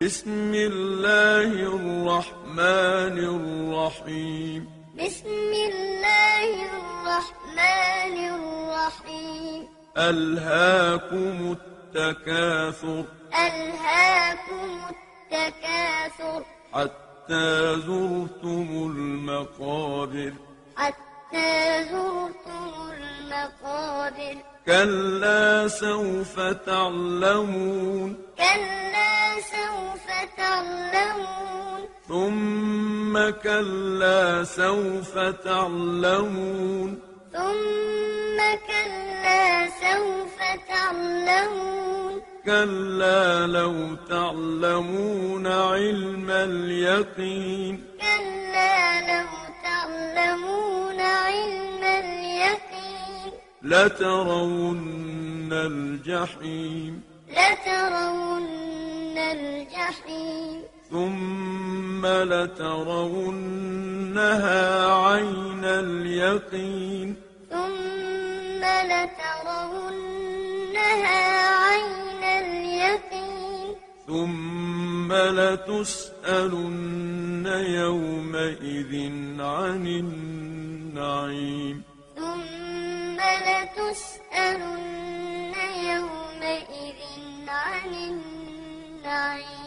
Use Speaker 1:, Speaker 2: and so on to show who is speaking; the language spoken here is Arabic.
Speaker 1: بسم الله الرحمن الرحيم
Speaker 2: بسم الله الرحمن الرحيم
Speaker 1: ألهاكم التكاثر
Speaker 2: ألهاكم التكاثر
Speaker 1: حتى زرتم المقابر
Speaker 2: حتى زرتم المقابر
Speaker 1: كلا سوف تعلمون
Speaker 2: كلا سوف تعلمون
Speaker 1: ثم كلا سوف تعلمون
Speaker 2: ثم كلا سوف تعلمون
Speaker 1: كلا لو تعلمون علم اليقين
Speaker 2: كلا لو تعلمون علم اليقين
Speaker 1: لترون الجحيم
Speaker 2: لترون الجحيم
Speaker 1: ثم لترونها عين اليقين
Speaker 2: ثم لترونها عين اليقين
Speaker 1: ثم لتسألن يومئذ عن النعيم
Speaker 2: ثم لتسألن يومئذ عن النعيم